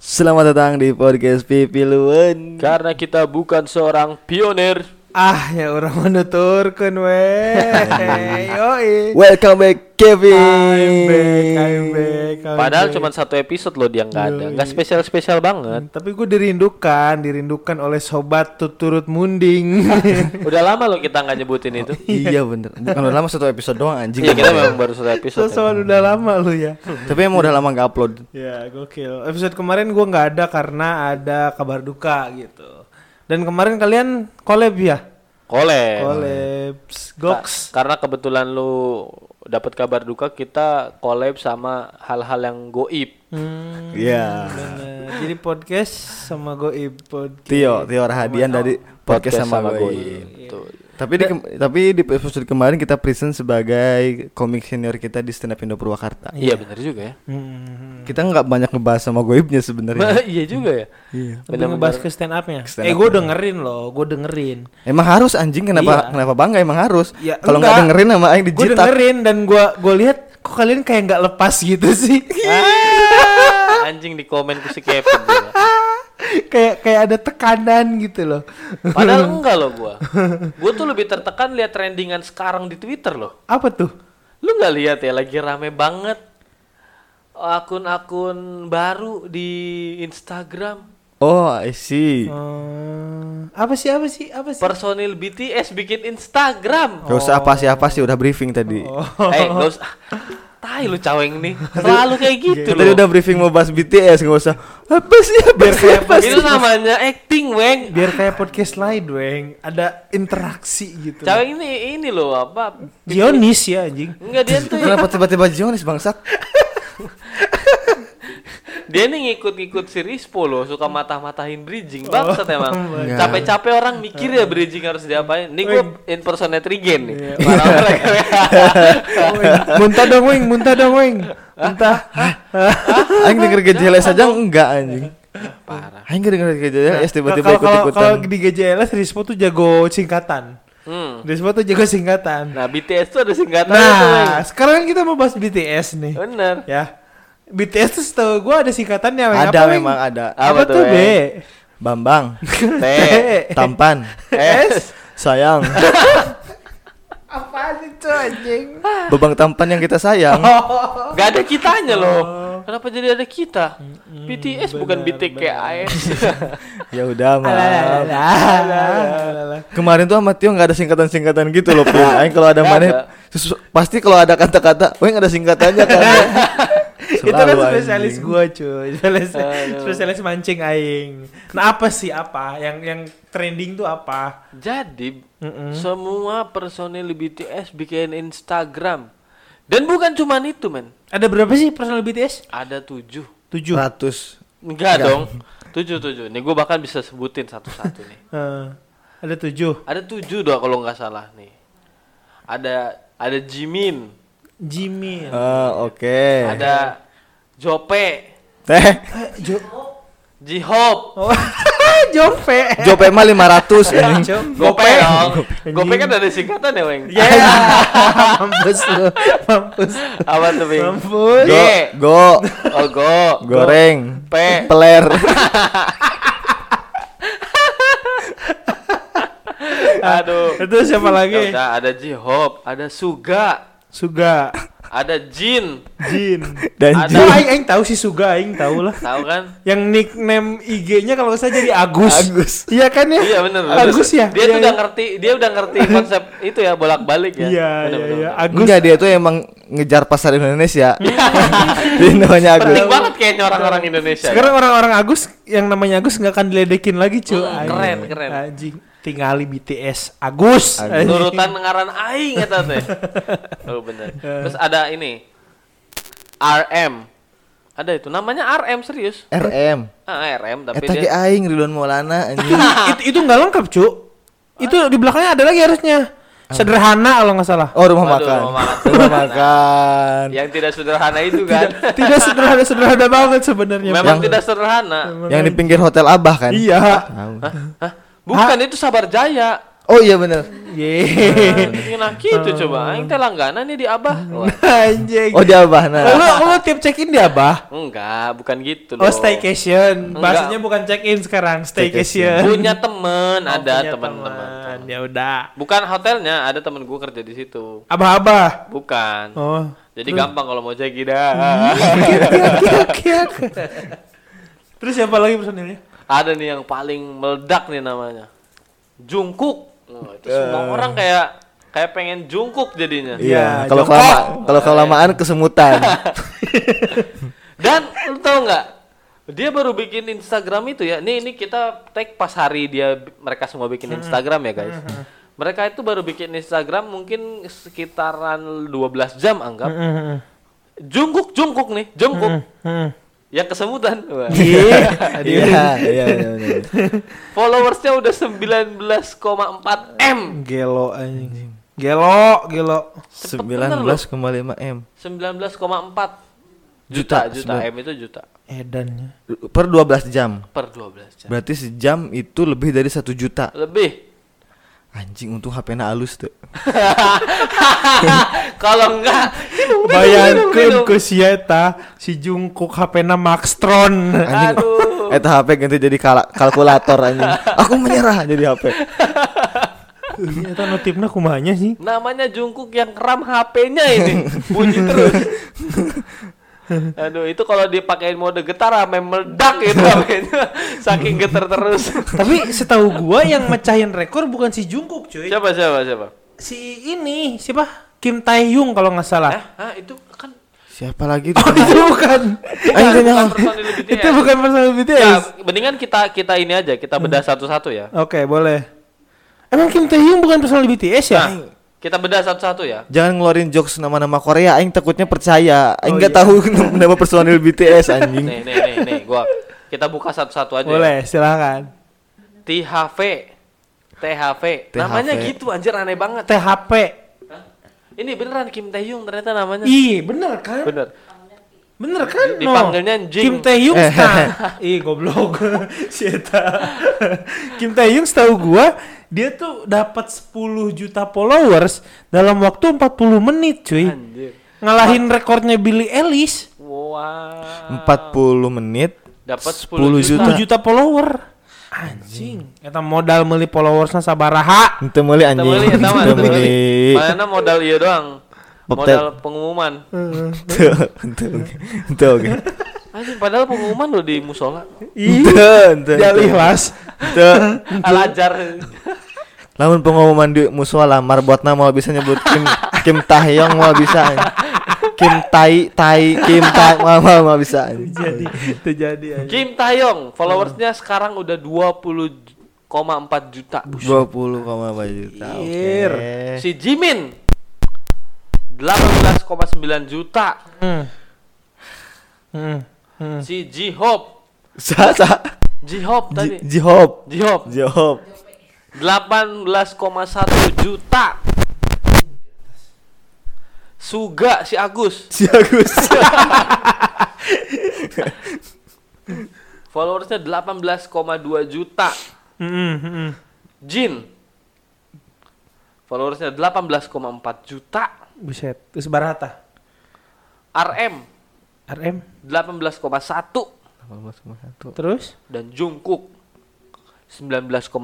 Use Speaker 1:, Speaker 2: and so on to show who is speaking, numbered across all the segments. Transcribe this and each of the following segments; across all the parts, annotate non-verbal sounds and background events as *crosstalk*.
Speaker 1: Selamat datang di podcast Pipiluan.
Speaker 2: Karena kita bukan seorang pionir.
Speaker 3: Ah, ya orang menuturkan
Speaker 2: *laughs*
Speaker 3: weh. Yoi.
Speaker 1: Welcome back Kevin.
Speaker 3: I'm back, I'm back. I'm
Speaker 2: Padahal
Speaker 3: back.
Speaker 2: cuma satu episode loh dia nggak ada, nggak spesial spesial banget.
Speaker 3: tapi gue dirindukan, dirindukan oleh sobat tuturut
Speaker 2: *laughs*
Speaker 3: munding.
Speaker 2: Udah lama loh kita nggak nyebutin itu.
Speaker 1: Iya bener. Bukan udah lama satu episode doang anjing.
Speaker 2: Iya kita memang baru satu episode. ya.
Speaker 3: Soal udah lama lu ya.
Speaker 1: Tapi emang udah lama nggak upload.
Speaker 3: Ya, gokil. Episode kemarin gue nggak ada karena ada kabar duka gitu. Dan kemarin kalian collab ya?
Speaker 2: Kole.
Speaker 3: Collabs, goks.
Speaker 2: Karena kebetulan lu dapat kabar duka kita collab sama hal-hal yang goib.
Speaker 3: Hmm,
Speaker 1: Iya.
Speaker 3: bener. Jadi podcast sama goib podcast.
Speaker 1: Tio, Tio Rahadian dari
Speaker 2: Iya.
Speaker 1: podcast, sama, Goib.
Speaker 2: Tuh.
Speaker 1: Tapi di kem- tapi di episode kemarin kita present sebagai komik senior kita di Stand Up Indo Purwakarta.
Speaker 2: Iya bener juga ya.
Speaker 3: Hmm.
Speaker 1: Kita nggak banyak ngebahas sama Goibnya sebenarnya.
Speaker 2: *laughs* Iya juga ya.
Speaker 3: Lebih ngebahas ke stand up-nya.
Speaker 1: stand
Speaker 3: eh,
Speaker 1: up-nya.
Speaker 3: gue dengerin loh, gue dengerin.
Speaker 1: Emang harus anjing kenapa
Speaker 3: Iya.
Speaker 1: kenapa bangga emang harus.
Speaker 3: Ya,
Speaker 1: Kalau nggak
Speaker 3: enggak.
Speaker 1: dengerin sama aing
Speaker 3: Gue
Speaker 1: dijitak.
Speaker 3: dengerin dan gue gue lihat kok kalian kayak nggak lepas gitu sih.
Speaker 2: Anjing di komen ku si Kevin. gua.
Speaker 3: *laughs* kayak kayak ada tekanan gitu loh.
Speaker 2: *laughs* Padahal enggak loh gua. Gua tuh lebih tertekan lihat trendingan sekarang di Twitter loh.
Speaker 3: Apa tuh?
Speaker 2: Lu nggak lihat ya lagi rame banget akun-akun baru di Instagram
Speaker 1: Oh, I see.
Speaker 3: Hmm, apa sih apa sih apa sih?
Speaker 2: personil BTS bikin
Speaker 1: Gak
Speaker 2: Instagram.
Speaker 3: Oh.
Speaker 1: usah apa sih apa sih udah briefing tadi.
Speaker 2: Eh, nggak usah. Tai lu caweng nih. Selalu kayak gitu
Speaker 1: Tadi
Speaker 2: loh.
Speaker 1: udah briefing mau bahas BTS nggak usah. Apa sih apa sih apa sih?
Speaker 2: Itu namanya acting, Weng.
Speaker 3: Biar kayak podcast lain, weng. Ada interaksi gitu.
Speaker 2: Caweng ini ini loh apa?
Speaker 3: Dionis ya anjing.
Speaker 2: Enggak dia
Speaker 1: *laughs*
Speaker 2: tuh
Speaker 1: Kenapa tiba-tiba Jonis bangsat?
Speaker 2: Dia nih ngikut-ngikut si Rispo loh, suka matah-matahin bridging bangsat emang.
Speaker 1: Oh. God.
Speaker 2: Capek-capek orang mikir ya bridging harus diapain. Nih gue impersonate Regen nih.
Speaker 1: Iya.
Speaker 2: Para
Speaker 1: *laughs* Oh,
Speaker 3: Weng, muntah dong, weng. Muntah dong, weng. Muntah.
Speaker 1: Aing denger gejeles aja enggak anjing.
Speaker 2: Parah.
Speaker 1: Aing nggak denger gejeles tiba-tiba
Speaker 3: Nah, Kalau- kalau-
Speaker 1: ikut-ikutan.
Speaker 3: Kalau di GJLS Rispo tuh jago singkatan.
Speaker 2: Hmm.
Speaker 3: Rispo tuh jago singkatan.
Speaker 2: Nah, BTS tuh ada singkatan
Speaker 3: Nah, sekarang kan kita mau bahas BTS nih.
Speaker 2: Bener.
Speaker 3: Ya. BTS tuh setahu gue ada singkatannya. Weng.
Speaker 1: Ada
Speaker 3: Apa, Weng?
Speaker 1: memang ada.
Speaker 2: Apa
Speaker 3: Apa
Speaker 2: tuh,
Speaker 3: tuh, B?
Speaker 2: Weng?
Speaker 1: Bambang,
Speaker 2: T
Speaker 1: Eh, tampan,
Speaker 2: S
Speaker 3: *laughs*
Speaker 1: sayang.
Speaker 3: Apa itu anjing?
Speaker 1: Bebang tampan yang kita sayang.
Speaker 3: Oh.
Speaker 2: Gak ada kitanya loh. Kenapa jadi ada kita? BTS bukan BTKIS.
Speaker 1: Ya udah maaf.
Speaker 3: Alalalalala.
Speaker 1: Kemarin tuh sama Tio nggak ada singkatan-singkatan gitu loh. Pin. Aing kalau ada
Speaker 2: Nggak
Speaker 1: mana susu- pasti kalau ada kata-kata, weh ada singkatannya kan.
Speaker 3: itu kan
Speaker 1: Selalu
Speaker 3: spesialis
Speaker 1: anjing.
Speaker 3: gue cuy spesialis,
Speaker 2: Aduh.
Speaker 3: spesialis mancing aing nah apa sih apa yang yang trending tuh apa
Speaker 2: *laughs* Jadi semua personil BTS bikin Instagram. Dan bukan cuman itu, men.
Speaker 3: ada berapa sih personal BTS
Speaker 2: Ada tujuh.
Speaker 3: tujuh
Speaker 1: Nah. ratus
Speaker 2: Enggak dong. Tujuh tujuh. Nih gue bahkan bisa sebutin satu-satu nih.
Speaker 3: Eh, ada tujuh
Speaker 2: Ada tujuh doang kalau nggak salah nih. Ada ada Jimin,
Speaker 3: Jimin
Speaker 1: Ah, oke. Eh,
Speaker 2: ada Jope,
Speaker 1: Teh,
Speaker 3: Jo-
Speaker 2: Jihop,
Speaker 3: Oh, *laughs* Jove.
Speaker 1: Jope mah 500 anjing.
Speaker 3: Jo-
Speaker 2: Gope dong.
Speaker 3: Anjing.
Speaker 2: Gope kan ada singkatan ya, Weng.
Speaker 3: Ya. mampus lu. Mampus.
Speaker 2: Apa tuh, Weng?
Speaker 3: Mampus.
Speaker 1: Go,
Speaker 2: Ye.
Speaker 1: go,
Speaker 2: Oh, go.
Speaker 1: goreng,
Speaker 2: Pe.
Speaker 1: peler. *laughs*
Speaker 2: Aduh.
Speaker 3: Itu siapa
Speaker 2: Ya
Speaker 3: lagi?
Speaker 2: udah, ada Jihop, ada Suga,
Speaker 3: Suga.
Speaker 2: ada Jin.
Speaker 3: Jin.
Speaker 1: Dan
Speaker 2: Ada.
Speaker 3: Tahu Nah, aing aing tahu sih Suga aing tahu lah.
Speaker 2: Tahu kan?
Speaker 3: Yang nickname IG-nya kalau nggak salah jadi Agus.
Speaker 1: Agus.
Speaker 3: Iya kan ya?
Speaker 2: Iya bener
Speaker 3: Agus ya.
Speaker 2: Dia
Speaker 3: Iya,
Speaker 2: tuh
Speaker 3: iya.
Speaker 2: udah ngerti Dia udah ngerti konsep itu ya Bolak-balik ya
Speaker 3: Iya,
Speaker 2: Bener,
Speaker 3: iya,
Speaker 2: bener,
Speaker 3: iya.
Speaker 2: bener.
Speaker 3: Agus.
Speaker 1: Enggak dia tuh emang ngejar pasar Indonesia. *laughs* Dia namanya
Speaker 2: Penting
Speaker 1: Agus.
Speaker 2: banget kayaknya orang-orang Indonesia ya.
Speaker 3: Sekarang orang-orang Agus yang namanya Agus nggak akan diledekin lagi cuy.
Speaker 2: Hmm, keren, keren.
Speaker 3: Anjing. Tingali BTS Agus.
Speaker 1: Agus.
Speaker 3: Anjing.
Speaker 2: Nurutan ngaran aing eta
Speaker 3: *laughs*
Speaker 2: teh. Oh bener.
Speaker 3: Iya.
Speaker 2: Terus ada ini. RM. Ada itu namanya RM serius.
Speaker 1: RM.
Speaker 2: Ah, RM tapi
Speaker 1: Eta ge
Speaker 2: dia
Speaker 1: aing Ridwan Maulana
Speaker 3: *laughs*
Speaker 1: anjing.
Speaker 3: Itu- itu nggak lengkap cu itu di belakangnya ada lagi harusnya sederhana kalau nggak salah
Speaker 1: Oh rumah
Speaker 2: Waduh,
Speaker 1: makan.
Speaker 2: rumah makan.
Speaker 1: Rumah makan.
Speaker 2: *laughs* yang tidak sederhana itu
Speaker 3: tidak,
Speaker 2: kan.
Speaker 3: tidak sederhana sederhana banget sebenarnya
Speaker 2: Memang
Speaker 1: Yang-
Speaker 2: tidak sederhana.
Speaker 1: Yang di pinggir hotel Abah kan?
Speaker 3: iya
Speaker 1: Tahu.
Speaker 2: Hah? Bukan itu Sabar Jaya.
Speaker 1: Oh iya bener
Speaker 3: Ye.
Speaker 2: Nah,
Speaker 3: Oh.
Speaker 2: gitu coba. Aing teh langganan nih di
Speaker 3: *laughs*
Speaker 2: Abah. Wah,
Speaker 3: Anjing.
Speaker 1: Oh di Abah nah.
Speaker 3: Lu lu tiap check in di apa?
Speaker 2: enggak, bukan gitu loh.
Speaker 3: Oh staycation.
Speaker 2: Enggak.
Speaker 3: Bahasanya bukan check in sekarang, staycation.
Speaker 2: Punya temen,
Speaker 3: Oh,
Speaker 2: ada
Speaker 3: punya
Speaker 2: teman-teman.
Speaker 3: Ya udah.
Speaker 2: Bukan hotelnya, ada temen gue kerja di situ.
Speaker 3: Abah-abah.
Speaker 2: Bukan.
Speaker 3: Oh. *laughs*
Speaker 2: Jadi gampang kalau mau cek dah.
Speaker 3: Terus siapa lagi personilnya?
Speaker 2: ada nih yang paling meledak nih namanya. Jungkook. Wah, itu semua orang kayak kayak pengen jungkuk
Speaker 1: Iya,
Speaker 2: jadinya.
Speaker 3: Eh. Iya,
Speaker 1: kalau
Speaker 3: jongkok.
Speaker 1: kelama kalau kelamaan kesemutan.
Speaker 2: Dan lu tau nggak? Dia baru bikin Instagram itu ya. Nih ini kita tag pas hari dia mereka semua bikin Instagram ya guys. Mereka itu baru bikin Instagram mungkin sekitaran 12 jam
Speaker 3: Hmm.
Speaker 2: anggap. Jungkuk jungkuk nih, jungkuk. Ya kesemutan. Wah.
Speaker 1: Iya, iya, iya, iya.
Speaker 2: Followersnya udah 19,4 M.
Speaker 3: Gelo anjing. Gelo, gelo.
Speaker 1: 19,5 M
Speaker 2: 19,4
Speaker 1: Juta,
Speaker 2: juta juta
Speaker 1: sembilan-
Speaker 2: M itu juta
Speaker 3: Edannya.
Speaker 1: per 12 jam.
Speaker 2: per 12 jam.
Speaker 1: Berarti sejam itu lebih dari 1 juta.
Speaker 2: Lebih.
Speaker 1: Anjing untung HP-nya halus tuh.
Speaker 2: Kalau enggak
Speaker 3: Bayangkan ke si Eta, si Jungkook HP-na Maxtron.
Speaker 1: Anjing. Eh,
Speaker 2: Aduh.
Speaker 1: Eta HP ganti jadi kala- kalkulator anjing. Aku menyerah jadi HP.
Speaker 3: Ini Eta notifnya kumanya sih.
Speaker 2: namanya Jungkook yang keram HP-nya
Speaker 3: *laughs*
Speaker 2: ini bunyi terus. Aduh, itu kalau dipakein mode getar sampai meledak itu HP-nya. Saking getar terus.
Speaker 3: Tapi setahu gua yang mecahin rekor bukan si Jungkook cuy.
Speaker 2: siapa siapa siapa?
Speaker 3: Si ini siapa? Kim Taehyung kalau nggak salah.
Speaker 2: Hah? Hah, itu kan
Speaker 1: Siapa lagi?
Speaker 3: *laughs* Oh, itu
Speaker 2: *laughs*
Speaker 3: bukan.
Speaker 1: Ayo tanya.
Speaker 2: bukan personil BTS.
Speaker 3: Ah, itu bukan personal
Speaker 2: Ya,
Speaker 3: BTS.
Speaker 2: mendingan kita kita ini aja, kita bedah satu-satu ya.
Speaker 3: Oke, boleh. Emang Kim Taehyung bukan personal BTS ya?
Speaker 2: Nah, kita bedah satu-satu ya.
Speaker 1: Jangan ngeluarin jokes nama-nama Korea, aing takutnya percaya. Aing
Speaker 3: Oh,
Speaker 1: nggak
Speaker 3: iya.
Speaker 1: tahu *laughs* nama personil BTS anjing.
Speaker 2: Nih, nih, nih, nih, gua kita buka satu-satu aja. ya.
Speaker 3: boleh, silakan.
Speaker 2: THV. THV.
Speaker 1: THV.
Speaker 2: Namanya gitu anjir aneh banget.
Speaker 3: THP.
Speaker 2: Ini beneran Kim Taehyung ternyata namanya.
Speaker 3: Ih, bener kan?
Speaker 2: Bener.
Speaker 3: Bener kan?
Speaker 2: Di- dipanggilnya Jing.
Speaker 3: Kim Taehyung
Speaker 1: Eh.
Speaker 2: *laughs*
Speaker 3: star. Ih, goblok. *laughs* si Eta. Kim Taehyung setahu gua dia tuh dapat 10 juta followers dalam waktu 40 menit, cuy.
Speaker 2: Anjir.
Speaker 3: Ngalahin rekornya Billy Ellis.
Speaker 2: Wah.
Speaker 1: 40 menit
Speaker 2: Dapat
Speaker 1: 10
Speaker 2: 10
Speaker 1: juta.
Speaker 2: juta.
Speaker 3: 10 juta follower. Anjing. Eta modal meuli followersnya sabaraha.
Speaker 1: Itu mulai anjing.
Speaker 2: Temen ya sama
Speaker 1: Itu mulai.
Speaker 2: Mana modal iya doang.
Speaker 1: Baptet.
Speaker 2: Modal pengumuman.
Speaker 1: Tuh, tuh, tuh, oke.
Speaker 2: Anjing padahal pengumuman lo di musola.
Speaker 3: Ih, ya
Speaker 1: Tuh, tuh,
Speaker 3: jalih
Speaker 1: tuh.
Speaker 3: las.
Speaker 1: Tuh.
Speaker 2: Alajar.
Speaker 1: Lamun pengumuman di musola marbotna mau bisa nyebut Kim Kim Taehyung mau bisa. anjing. Kim Tai Tai Kim Tai mau mau mau bisa. anjing.
Speaker 3: Jadi, terjadi anjing.
Speaker 2: Kim Taeyong followersnya sekarang udah 20,4 juta.
Speaker 1: 20,4 juta.
Speaker 3: Anjir.
Speaker 1: Oke.
Speaker 2: Si Jimin 18,9 juta.
Speaker 3: Hmm. Hmm. Hmm.
Speaker 2: Si Jihope,
Speaker 1: Sa sa.
Speaker 2: Jihope tadi.
Speaker 1: Ji- Jihop.
Speaker 2: Jihope
Speaker 1: Jihop.
Speaker 2: 18,1 juta. Suga si Agus
Speaker 1: Si
Speaker 3: *laughs*
Speaker 1: Agus.
Speaker 2: followersnya 18,2 juta.
Speaker 3: Hmm, hmm.
Speaker 2: Jin followersnya 18,4 juta.
Speaker 3: Buset, terus Barata.
Speaker 2: RM
Speaker 3: RM
Speaker 2: 18,1
Speaker 1: 18,1.
Speaker 3: terus
Speaker 2: dan Jungkook 19,4 juta.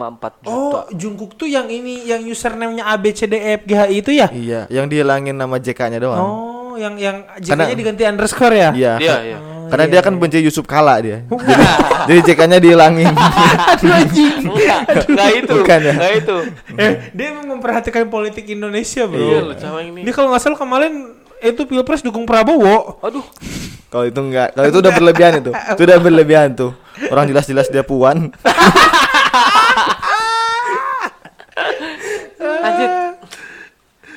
Speaker 3: Oh, Jungkook tuh yang ini yang username-nya ABCDEFGHI itu ya?
Speaker 1: Iya, yang dihilangin nama JK-nya doang.
Speaker 3: Oh, yang yang
Speaker 1: Karena-
Speaker 3: JK-nya diganti underscore ya?
Speaker 1: Iya.
Speaker 2: Dia ya.
Speaker 1: Karena dia
Speaker 3: iya.
Speaker 1: kan benci Yusuf Kala dia.
Speaker 3: *laughs*
Speaker 1: Jadi, jadi JK-nya dihilangin. *laughs*
Speaker 3: Aduh anjing.
Speaker 2: Enggak, enggak itu.
Speaker 1: Bukan ya?
Speaker 2: Enggak itu.
Speaker 3: eh, dia emang memperhatikan politik Indonesia,
Speaker 2: Iya, lu
Speaker 3: Bro.
Speaker 2: cawang ini.
Speaker 3: Dia kalau nggak salah kemarin itu Pilpres dukung Prabowo.
Speaker 2: Aduh,
Speaker 1: Kalau itu enggak, kalau itu udah berlebihan itu. Itu udah berlebihan tuh. Orang jelas-jelas dia
Speaker 3: *laughs*
Speaker 1: puan.
Speaker 2: anjir.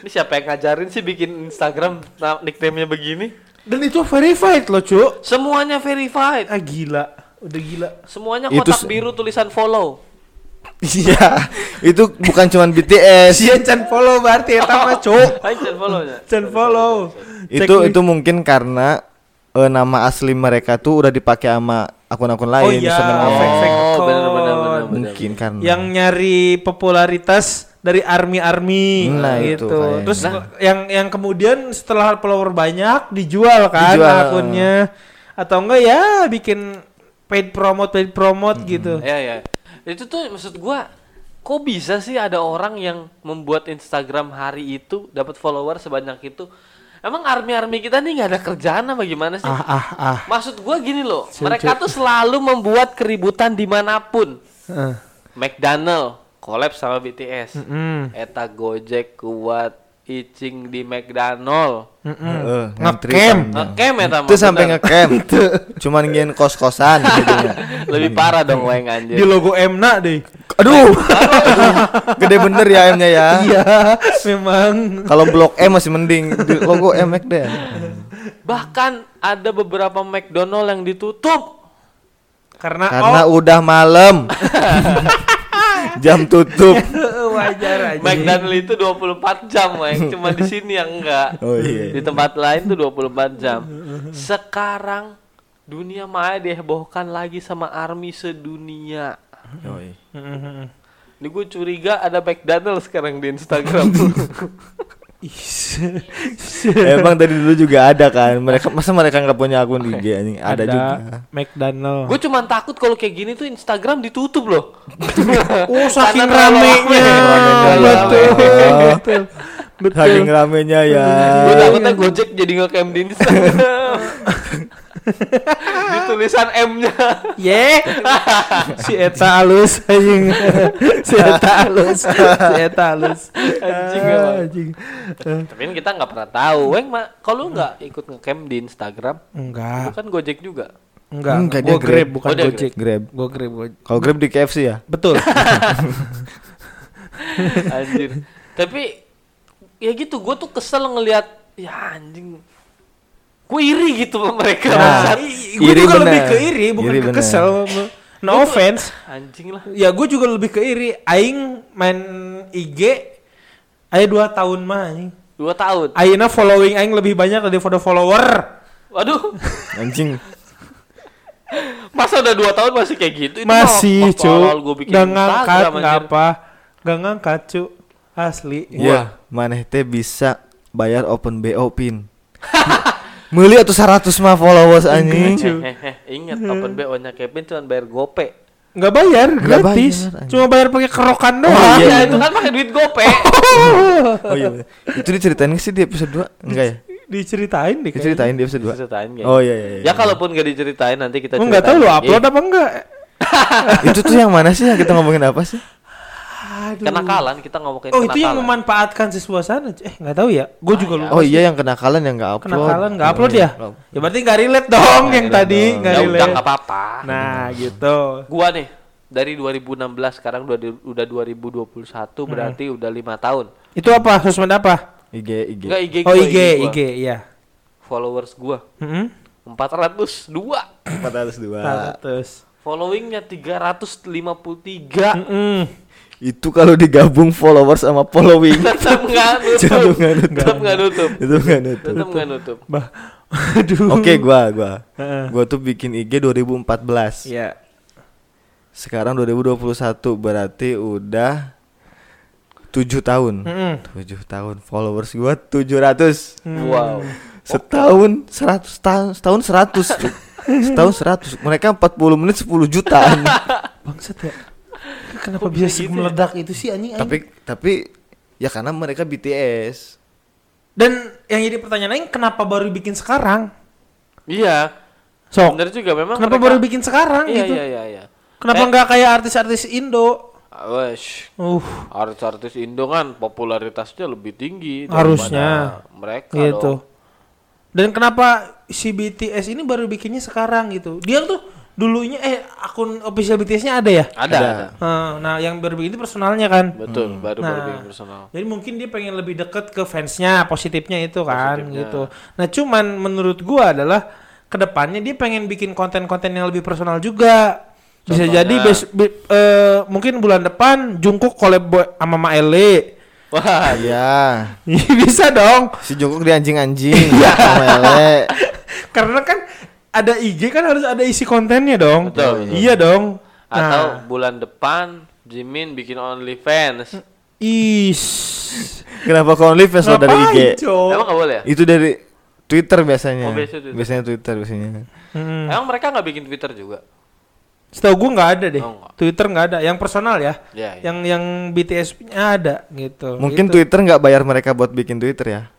Speaker 2: Ini siapa yang ngajarin sih bikin Instagram na- nickname-nya begini?
Speaker 3: Dan itu verified loh, Cuk.
Speaker 2: Semuanya verified.
Speaker 3: Ah gila, udah gila.
Speaker 2: Semuanya
Speaker 1: Itu
Speaker 2: kotak
Speaker 1: se-
Speaker 2: biru tulisan follow.
Speaker 1: Iya. itu bukan cuman BTS.
Speaker 3: Sian can follow berarti ya *laughs* sama, Cuk.
Speaker 2: Anjir follow-nya.
Speaker 3: Can follow.
Speaker 1: itu itu mungkin karena eh, nama asli mereka tuh udah dipakai sama akun-akun lain
Speaker 3: iya.
Speaker 1: username
Speaker 3: Oh,
Speaker 1: orang.
Speaker 3: fake- fake
Speaker 2: Oh, bener, bener,
Speaker 3: account.
Speaker 2: bener, bener.
Speaker 1: Mungkin karena.
Speaker 3: yang nyari popularitas dari army-army
Speaker 1: Nah, itu
Speaker 3: gitu.
Speaker 1: kayaknya.
Speaker 3: Terus yang yang kemudian setelah follower banyak dijual kan
Speaker 1: Dijual.
Speaker 3: akunnya atau enggak ya bikin paid promote paid promote gitu.
Speaker 2: Ya ya. Itu tuh maksud gua kok bisa sih ada orang yang membuat Instagram hari itu dapat follower sebanyak itu? Emang army-army kita nih nggak ada kerjaan apa gimana sih?
Speaker 3: Ah ah ah.
Speaker 2: Maksud gua gini loh, mereka tuh selalu membuat keributan dimanapun.
Speaker 3: Heeh.
Speaker 2: McDonald collab sama BTS.
Speaker 3: Mm.
Speaker 2: Eta Gojek kuat icing di McDonald.
Speaker 1: Heeh, e, ngantri
Speaker 3: mm, Ngecamp.
Speaker 1: panjang.
Speaker 2: Ngecamp ya, Tam,
Speaker 1: Itu sampai
Speaker 2: bener.
Speaker 3: *laughs*
Speaker 1: ngecamp. Cuman ngin kos-kosan gitu ya.
Speaker 2: Lebih parah dong weng anjir.
Speaker 3: Di logo Mna deh.
Speaker 1: Aduh. *laughs* Gede bener ya M-nya ya.
Speaker 3: Iya, *laughs* memang.
Speaker 1: Kalau blok M masih mending Di logo M deh.
Speaker 2: Bahkan ada beberapa McDonald yang ditutup.
Speaker 3: Karena,
Speaker 1: Karena
Speaker 3: *laughs* oh,
Speaker 1: udah malam. Jam tutup.
Speaker 3: wajar aja.
Speaker 2: McDonald itu 24 jam,
Speaker 3: *laughs*
Speaker 2: Weng. Cuma di sini yang enggak.
Speaker 1: Oh iya.
Speaker 2: Di tempat lain tuh 24 jam. Sekarang dunia maya dihebohkan lagi sama army sedunia.
Speaker 1: Yoi.
Speaker 2: Ini gue curiga ada McDonald sekarang di
Speaker 3: *laughs*
Speaker 2: Instagram.
Speaker 1: Emang tadi dulu juga ada kan. Mereka masa mereka nggak punya akun IG anjing? Ada, juga.
Speaker 3: McDonald.
Speaker 2: gue cuman takut kalau kayak gini tuh Instagram ditutup loh.
Speaker 3: *laughs* Oh, saking
Speaker 2: Karena terlalu
Speaker 3: ramenya.
Speaker 1: ramenya,
Speaker 2: rame.
Speaker 3: Ah, Betul.
Speaker 1: ya.
Speaker 3: Betul. Betul.
Speaker 1: Saking ramenya ya.
Speaker 3: Eh,
Speaker 2: Gue takutnya
Speaker 3: iya.
Speaker 2: Gojek jadi ngecam di
Speaker 3: *laughs*
Speaker 2: Instagram. di tulisan M-nya.
Speaker 3: Ye. *laughs* si Eta halus anjing. si Eta halus. Si Eta halus.
Speaker 2: Anjing,
Speaker 3: Ah,
Speaker 2: emang.
Speaker 3: anjing.
Speaker 2: Tapi kan kita nggak pernah tahu. Weng, ma, kalau lu nggak ikut ngecam di Instagram, lu
Speaker 3: Enggak.
Speaker 2: kan Gojek juga.
Speaker 3: Enggak.
Speaker 1: Enggak, dia
Speaker 3: Gua
Speaker 1: Grab.
Speaker 3: Grab bukan
Speaker 2: Oh, dia
Speaker 3: Gojek.
Speaker 1: Grab.
Speaker 3: Gua Grab. gua-
Speaker 1: Kalau Grab di KFC ya?
Speaker 3: *laughs* Betul.
Speaker 2: Anjir. Tapi ya gitu, gue tuh kesel ngelihat ya anjing. Gue iri gitu sama mereka.
Speaker 1: Nah,
Speaker 2: bangsat.
Speaker 3: Gue
Speaker 1: Iri
Speaker 3: juga lebih
Speaker 1: bener.
Speaker 3: ke Iya. iri bukan
Speaker 1: Iri
Speaker 3: ke
Speaker 1: bener.
Speaker 3: kesel. No offense.
Speaker 2: Anjing lah.
Speaker 3: Ya gue juga lebih ke iri. Aing main IG. Ayo dua tahun mah anjing.
Speaker 2: Dua tahun.
Speaker 3: Ayeuna following aing lebih banyak daripada follower.
Speaker 2: Waduh.
Speaker 1: Anjing. Masa
Speaker 2: Masa udah dua tahun masih kayak gitu? Itu mah
Speaker 3: Masih,
Speaker 2: waktu
Speaker 3: cu.
Speaker 2: awal gua bikin
Speaker 3: Gak ngangkat,
Speaker 2: Instagram,
Speaker 3: gak
Speaker 2: anjir.
Speaker 3: apa. Gak ngangkat, cu. Asli.
Speaker 1: Ya, maneh teh bisa bayar open BO pin. *laughs* Meuli atuh 100 mah followers
Speaker 3: Iya,
Speaker 1: anjing.
Speaker 3: cu.
Speaker 2: Eh, eh, ingat
Speaker 1: Hmm.
Speaker 2: open BO nya Kevin cuma bayar gope.
Speaker 3: Gak bayar,
Speaker 1: Nggak
Speaker 3: gratis.
Speaker 1: bayar, anjing.
Speaker 3: Cuma bayar pakai kerokan doang.
Speaker 2: *laughs*
Speaker 1: Oh, iya.
Speaker 2: ya itu kan pakai duit
Speaker 1: *laughs*
Speaker 2: gope.
Speaker 1: Oh iya. bener. Itu diceritain nggak sih di episode 2? Enggak ya?
Speaker 3: Iya. Diceritain deh. kayaknya.
Speaker 1: Diceritain di episode 2.
Speaker 2: Ceritain kayaknya.
Speaker 1: Oh iya iya. iya.
Speaker 2: Ya
Speaker 3: kan.
Speaker 2: kalaupun gak diceritain nanti kita
Speaker 3: Lu Oh, nggak tahu
Speaker 2: ceritain
Speaker 3: lu
Speaker 2: lagi.
Speaker 3: upload apa enggak?
Speaker 1: itu tuh yang mana sih? Kita ngomongin apa sih?
Speaker 3: Aduh.
Speaker 2: Kenakalan kita ngomongin
Speaker 3: Oh itu
Speaker 2: kenakalan. Ah,
Speaker 3: yang memanfaatkan si suasana. cu. Eh nggak tahu ya. Gue juga lupa.
Speaker 1: Oh iya yang kenakalan yang nggak upload.
Speaker 3: Kenakalan nggak upload ya?
Speaker 1: Nggak upload.
Speaker 3: Ya berarti nggak relate dong yang tadi nggak
Speaker 2: Ya udah
Speaker 3: relate.
Speaker 2: nggak apa-apa.
Speaker 3: Nah gitu.
Speaker 2: Gua nih dari 2016 sekarang udah di- udah 2021
Speaker 3: Hmm.
Speaker 2: berarti udah lima tahun.
Speaker 3: Itu apa? Sosmed apa?
Speaker 1: IG IG.
Speaker 2: Enggak IG
Speaker 3: Oh
Speaker 2: gua,
Speaker 3: IG,
Speaker 2: gua.
Speaker 3: IG, ya.
Speaker 2: Followers gua
Speaker 3: Heeh.
Speaker 2: 402.
Speaker 1: 402.
Speaker 3: 100.
Speaker 2: Followingnya 353
Speaker 3: Mm.
Speaker 1: Itu kalau digabung followers sama
Speaker 3: *laughs*
Speaker 1: following
Speaker 2: *laughs* Tetep nggak
Speaker 1: Tetep
Speaker 2: nutup
Speaker 1: nggak nutup.
Speaker 2: Tetep nggak nutup
Speaker 1: itu nggak nutup.
Speaker 2: Tetep nggak nutup
Speaker 3: Bah. *laughs* Aduh.
Speaker 1: Oke, gua gua.
Speaker 3: Heeh.
Speaker 1: Gua tuh bikin IG 2014.
Speaker 2: Ya.
Speaker 3: Iya.
Speaker 1: Sekarang 2021 berarti udah 7 tahun.
Speaker 3: Mm-mm.
Speaker 1: 7 tahun followers gua 700.
Speaker 3: Hmm.
Speaker 2: Wow
Speaker 1: Setahun 100 tahun setahun 100. cuy. Setahun 100. Mereka 40 menit 10 jutaan.
Speaker 3: Bangsat ya. Kenapa bisa
Speaker 2: gitu ya?
Speaker 3: meledak itu sih anjing? anjing?
Speaker 1: tapi tapi ya karena mereka BTS.
Speaker 3: Dan yang jadi pertanyaan lain kenapa baru bikin sekarang?
Speaker 2: Iya
Speaker 3: Sok.
Speaker 2: Bener juga memang
Speaker 3: Oh. Kenapa
Speaker 2: mereka-
Speaker 3: baru bikin sekarang
Speaker 2: Iya
Speaker 3: gitu?
Speaker 2: iya iya iya ah,
Speaker 3: Kenapa nggak kayak artis-artis Indo?
Speaker 2: Wesh
Speaker 3: Uh,
Speaker 2: Artis-artis Indo kan popularitasnya lebih tinggi daripada
Speaker 3: Harusnya.
Speaker 2: Mereka
Speaker 3: gitu.
Speaker 2: dong
Speaker 3: Dan kenapa si BTS ini baru bikinnya sekarang gitu? Dia tuh dulunya eh akun official BTS-nya ada ya?
Speaker 2: Ada,
Speaker 1: Ada.
Speaker 2: ada.
Speaker 3: Nah, nah, yang baru bikin itu personalnya kan.
Speaker 2: Betul baru baru
Speaker 3: Nah.
Speaker 2: bikin personal
Speaker 3: Jadi mungkin dia pengen lebih deket ke fansnya, positifnya itu kan
Speaker 2: Positifnya.
Speaker 3: gitu. Nah cuman menurut gua adalah kedepannya dia pengen bikin konten-konten yang lebih personal juga. Bisa
Speaker 2: Contohnya?
Speaker 3: jadi bes- bi- eh, mungkin bulan depan Jungkook collab bo- sama Maele.
Speaker 2: Wah
Speaker 1: Iya.
Speaker 3: *laughs* Bisa dong. *laughs*
Speaker 1: Si Jungkook di anjing-anjing sama ele.
Speaker 3: Karena kan ada IG kan harus ada isi kontennya dong.
Speaker 2: Betul, betul.
Speaker 3: Iya dong.
Speaker 2: Atau
Speaker 3: Nah,
Speaker 2: bulan depan Jimin bikin OnlyFans
Speaker 3: Is.
Speaker 1: Kenapa kau OnlyFans lo dari IG?
Speaker 3: Ngapain, Cok?
Speaker 2: Emang nggak boleh ya?
Speaker 1: Itu dari Twitter biasanya.
Speaker 2: Oh, biasanya Twitter.
Speaker 1: Biasanya Twitter biasanya.
Speaker 3: Mm-mm.
Speaker 2: Emang mereka nggak bikin Twitter juga?
Speaker 3: Setahu gue nggak ada deh.
Speaker 2: Oh, nggak.
Speaker 3: Twitter nggak ada. Yang personal ya.
Speaker 2: Ya, ya.
Speaker 3: Yang yang BTS punya ada gitu.
Speaker 1: Mungkin
Speaker 3: gitu.
Speaker 1: Twitter nggak bayar mereka buat bikin Twitter ya?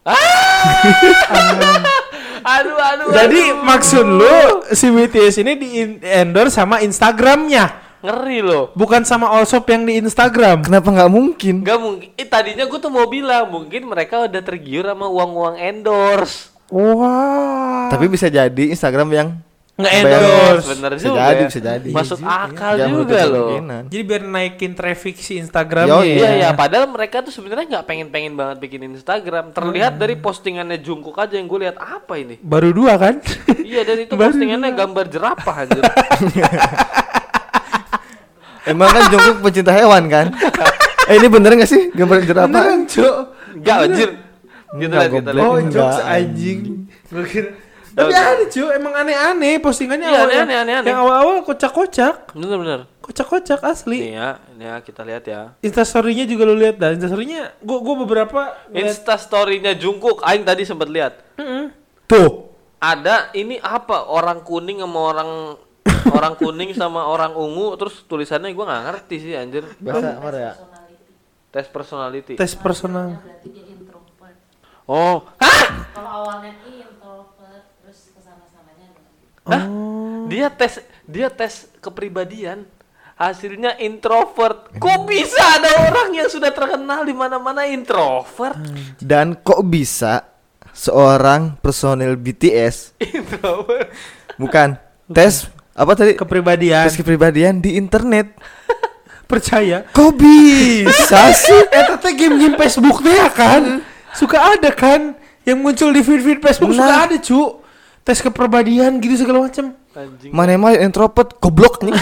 Speaker 2: *laughs* Aduh, aduh.
Speaker 3: Hmm. Gitu. Jadi
Speaker 2: aduh.
Speaker 3: maksud lu si BTS ini di endorse sama Instagramnya,
Speaker 2: ngeri loh.
Speaker 3: bukan sama all shop yang di Instagram.
Speaker 1: Kenapa nggak mungkin?
Speaker 2: Gak mungkin. Eh, tadinya gue tuh mau bilang mungkin mereka udah tergiur sama uang-uang endorse.
Speaker 3: Wah.
Speaker 1: Tapi bisa jadi Instagram yang
Speaker 3: nggak
Speaker 1: bayar.
Speaker 3: endorse.
Speaker 2: Bener
Speaker 1: Bisa
Speaker 2: juga.
Speaker 1: jadi,
Speaker 2: ya.
Speaker 1: bisa jadi.
Speaker 2: Masuk
Speaker 3: Iya juga,
Speaker 2: akal
Speaker 1: Nggak menutup
Speaker 2: juga loh.
Speaker 1: kemungkinan.
Speaker 3: Jadi biar naikin traffic si Instagramnya.
Speaker 1: Yoi.
Speaker 2: Iya ya, padahal mereka tuh sebenarnya nggak pengen-pengen banget bikin Instagram. Terlihat dari postingannya Jungkook aja yang gue lihat apa ini.
Speaker 3: Baru dua kan?
Speaker 2: Iya dan itu
Speaker 3: Baru
Speaker 2: postingannya gambar jerapah anjir.
Speaker 1: Emang kan Jungkook pencinta hewan kan? eh ini bener nggak sih gambar jerapah?
Speaker 3: Beneran, Cok.
Speaker 2: Enggak anjir. Gitu
Speaker 1: Nggak,
Speaker 2: lihat kita
Speaker 1: goblok.
Speaker 2: lihat.
Speaker 3: Oh,
Speaker 1: Enggak,
Speaker 3: jokes
Speaker 1: anjing.
Speaker 3: anjing. Gua kira- Tapi
Speaker 2: Oke.
Speaker 3: aneh, Cok. Emang aneh-aneh postingannya
Speaker 2: Iya,
Speaker 3: awal-
Speaker 2: aneh-aneh, aneh-aneh.
Speaker 3: Yang awal-awal kocak-kocak.
Speaker 2: Bener-bener.
Speaker 3: Kocak-kocak
Speaker 2: Nih
Speaker 3: asli.
Speaker 2: ya, nih ya kita lihat ya.
Speaker 3: Instastory-nya juga lu lihat dan Instastory-nya gua gua beberapa lihat.
Speaker 2: Insta story-nya Jungkook aing tadi sempat lihat.
Speaker 3: Tuh.
Speaker 2: Ada ini apa? Orang kuning sama orang orang kuning sama orang ungu terus tulisannya gua nggak ngerti sih anjir.
Speaker 1: Bahasa Korea.
Speaker 2: Tes personality.
Speaker 3: Tes personal.
Speaker 4: berarti dia introvert
Speaker 2: Oh,
Speaker 4: kalau awalnya dia introvert terus gitu. kesana sananya
Speaker 2: Hah? Dia tes dia tes kepribadian. Hasilnya introvert. Kok bisa ada orang yang sudah terkenal di mana-mana introvert?
Speaker 3: Hmm.
Speaker 1: Dan kok bisa seorang personil BTS
Speaker 2: *laughs* introvert.
Speaker 1: bukan tes apa tadi?
Speaker 3: Kepribadian.
Speaker 1: Tes kepribadian di internet.
Speaker 3: Percaya.
Speaker 1: Kok bisa sih?
Speaker 3: Eta teh game-game Facebook teh ya kan? Suka ada kan? Yang muncul di feed-feed Facebook suka
Speaker 1: Benar.
Speaker 3: ada, Cuk. Tes kepribadian gitu segala *laughs* macam.
Speaker 2: Anjing.
Speaker 1: Mana emang introvert goblok nih.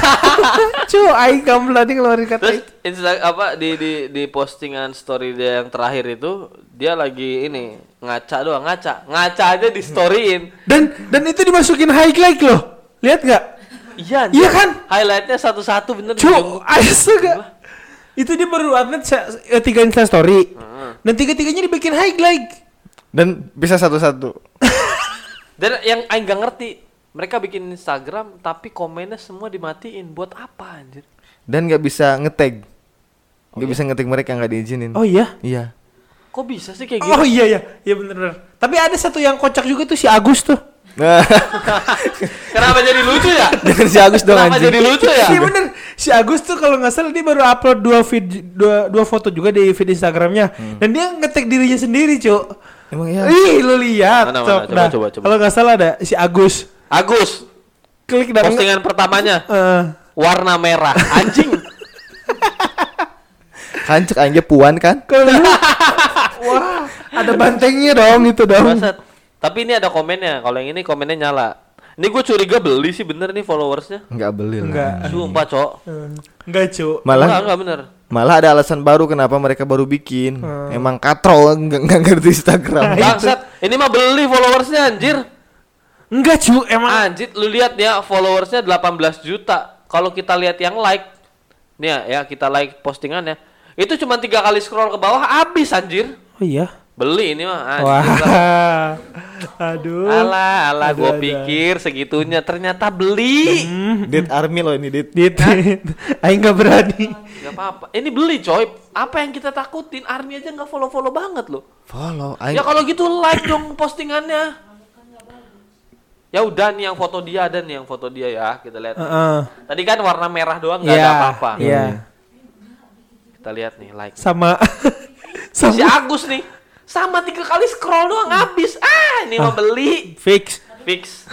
Speaker 3: Cuk, aing kamplani ngeluarin kata
Speaker 2: Terus
Speaker 3: itu.
Speaker 2: Insta apa di di di postingan story dia yang terakhir itu dia lagi ini ngaca doang ngaca ngaca aja di storyin
Speaker 3: Dan dan itu dimasukin highlight loh. Lihat gak?
Speaker 2: iya
Speaker 3: Iya kan?
Speaker 2: highlightnya satu-satu bener
Speaker 3: *laughs* Cuk, asu gak? Itu dia baru upload se- eh, tiga Insta story. Dan tiga-tiganya dibikin highlight.
Speaker 1: Dan bisa satu-satu.
Speaker 2: dan yang Aing gak ngerti mereka bikin Instagram tapi komennya semua dimatiin buat apa anjir
Speaker 1: Dan nggak bisa ngetag. Nggak bisa ngetag mereka nggak diizinin.
Speaker 3: Oh iya. *laughs*
Speaker 1: Iya.
Speaker 2: kok bisa sih kayak gitu
Speaker 3: Oh iya ya, iya bener, bener. Tapi ada satu yang kocak juga tuh si Agus tuh.
Speaker 1: Nah,
Speaker 2: kenapa jadi lucu ya
Speaker 3: *laughs*
Speaker 1: jangan si Agus dong
Speaker 2: kenapa
Speaker 1: anjing.
Speaker 2: jadi lucu ya
Speaker 3: Iya bener. Si Agus tuh kalau nggak salah dia baru upload dua feed dua, dua foto juga di feed Instagramnya.
Speaker 2: Hmm.
Speaker 3: Dan dia ngetek dirinya sendiri, Cuk.
Speaker 1: Emang iya.
Speaker 3: Ih, lu lihat.
Speaker 2: Mana, mana,
Speaker 3: Cok.
Speaker 2: coba,
Speaker 3: Nah,
Speaker 2: coba, coba.
Speaker 3: Kalau nggak salah ada si Agus.
Speaker 2: Agus
Speaker 3: Klik dan
Speaker 2: postingan pertamanya
Speaker 3: Eh,
Speaker 2: warna merah anjing
Speaker 3: *laughs*
Speaker 1: Kan cek aja puan kan?
Speaker 3: kalau
Speaker 2: *laughs*
Speaker 3: lu- Wah, ada bantengnya dong itu dong.
Speaker 2: Bangsat. tapi ini ada komennya kalau yang ini komennya nyala ini gue curiga beli sih bener nih followersnya
Speaker 1: Nggak beli lah.
Speaker 3: Nggak.
Speaker 2: Sumpah, Cok.
Speaker 3: Eh, Nggak, Cuk.
Speaker 2: Enggak,
Speaker 1: Malah
Speaker 2: enggak bener.
Speaker 1: malah ada alasan baru kenapa mereka baru bikin.
Speaker 3: Hmm.
Speaker 1: Emang katro nggak nggak ngerti
Speaker 3: Nah,
Speaker 1: Instagram.
Speaker 2: Bangsat, ini mah beli followersnya anjir.
Speaker 3: Enggak, Cuk. Emang
Speaker 2: Anjir, lu lihat ya followersnya 18 juta. Kalau kita lihat yang like, nih ya, ya kita like postingannya. Itu cuma tiga kali scroll ke bawah habis anjir.
Speaker 3: Oh iya.
Speaker 2: Beli ini mah
Speaker 3: Wah.
Speaker 2: anjir. lah.
Speaker 3: *laughs* Aduh.
Speaker 2: Ah, iya, Alah, alah
Speaker 3: Aduh,
Speaker 2: gua
Speaker 3: aduh.
Speaker 2: pikir segitunya ternyata beli.
Speaker 1: Dit Army loh ini Dit.
Speaker 3: Dit. *laughs* Aing nggak berani.
Speaker 2: Gak apa-apa. Ini beli coy. Apa yang kita takutin? Army aja nggak follow-follow banget loh.
Speaker 1: Follow. Aing
Speaker 2: Ya kalau gitu like dong postingannya. Ya udah nih yang foto dia ada nih yang foto dia ya kita lihat.
Speaker 3: Heeh.
Speaker 2: Tadi kan warna merah doang nggak ada
Speaker 3: Iya.
Speaker 2: apa-apa.
Speaker 3: Iya.
Speaker 2: Kita lihat nih like.
Speaker 3: Sama *laughs*
Speaker 2: Si
Speaker 3: sama
Speaker 2: Agus nih sama tiga kali scroll doang habis. Ah ini mau beli
Speaker 3: fix.
Speaker 2: fix.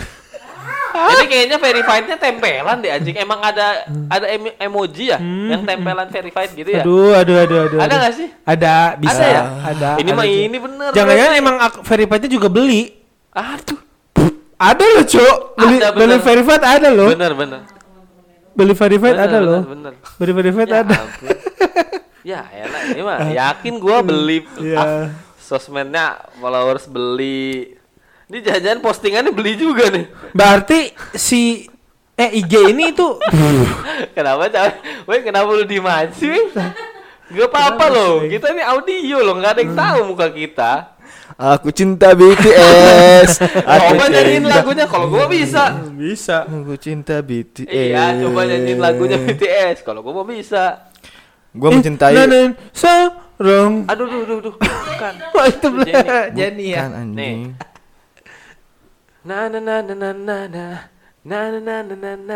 Speaker 2: Jadi kayaknya verified-nya tempelan deh anjing. Emang ada ada em- emoji ya yang tempelan verified gitu ya?
Speaker 3: Hmm. Aduh, aduh, aduh, aduh.
Speaker 2: Ada
Speaker 3: aduh.
Speaker 2: nggak sih?
Speaker 3: Ada, bisa.
Speaker 2: Ada ya?
Speaker 3: Ada.
Speaker 2: Ini
Speaker 3: ada
Speaker 2: mah
Speaker 3: juga.
Speaker 2: ini bener.
Speaker 3: Jangan-jangan emang ak- verified-nya juga beli.
Speaker 2: aduh.
Speaker 3: Ada loh, Cuk. Beli,
Speaker 2: Ada,
Speaker 3: beli
Speaker 2: bener.
Speaker 3: verified ada loh.
Speaker 2: Bener bener.
Speaker 3: Beli verified
Speaker 2: Bener,
Speaker 3: ada
Speaker 2: bener,
Speaker 3: loh.
Speaker 2: bener.
Speaker 3: Beli verified
Speaker 2: Ya
Speaker 3: ada. Ah.
Speaker 2: ampun. ya enak ini mah yakin gua beli
Speaker 3: Iya.
Speaker 2: ah, sosmednya followers beli ini jajan postingannya beli juga nih
Speaker 3: Berarti si eh IG ini itu
Speaker 2: kenapa cah weh kenapa lu diem aja sih Weh? Gak apa-apa loh, kita ini audio loh, nggak ada yang tahu
Speaker 3: Hmm.
Speaker 2: muka kita.
Speaker 1: Aku cinta
Speaker 3: *laughs*
Speaker 1: BTS.
Speaker 3: Ya, Ah,
Speaker 1: aku
Speaker 2: Coba
Speaker 3: iya,
Speaker 2: nyanyiin
Speaker 1: cinta-
Speaker 2: lagunya, kalau gua *laughs* bisa.
Speaker 3: Bisa.
Speaker 1: Aku cinta BTS.
Speaker 2: Iya, coba nyanyiin lagunya
Speaker 3: Iya.
Speaker 2: BTS, kalau gua mau bisa.
Speaker 1: Gua mencintai.
Speaker 3: Nah, nah, sarong.
Speaker 2: Aduh, duh, duh, duh, bukan.
Speaker 3: Oh, itu
Speaker 2: Jenny.
Speaker 3: belah. Jenny
Speaker 1: Bukan
Speaker 3: ya.
Speaker 1: Kan, anjing.
Speaker 2: Na na na na na na na na na na na na na na na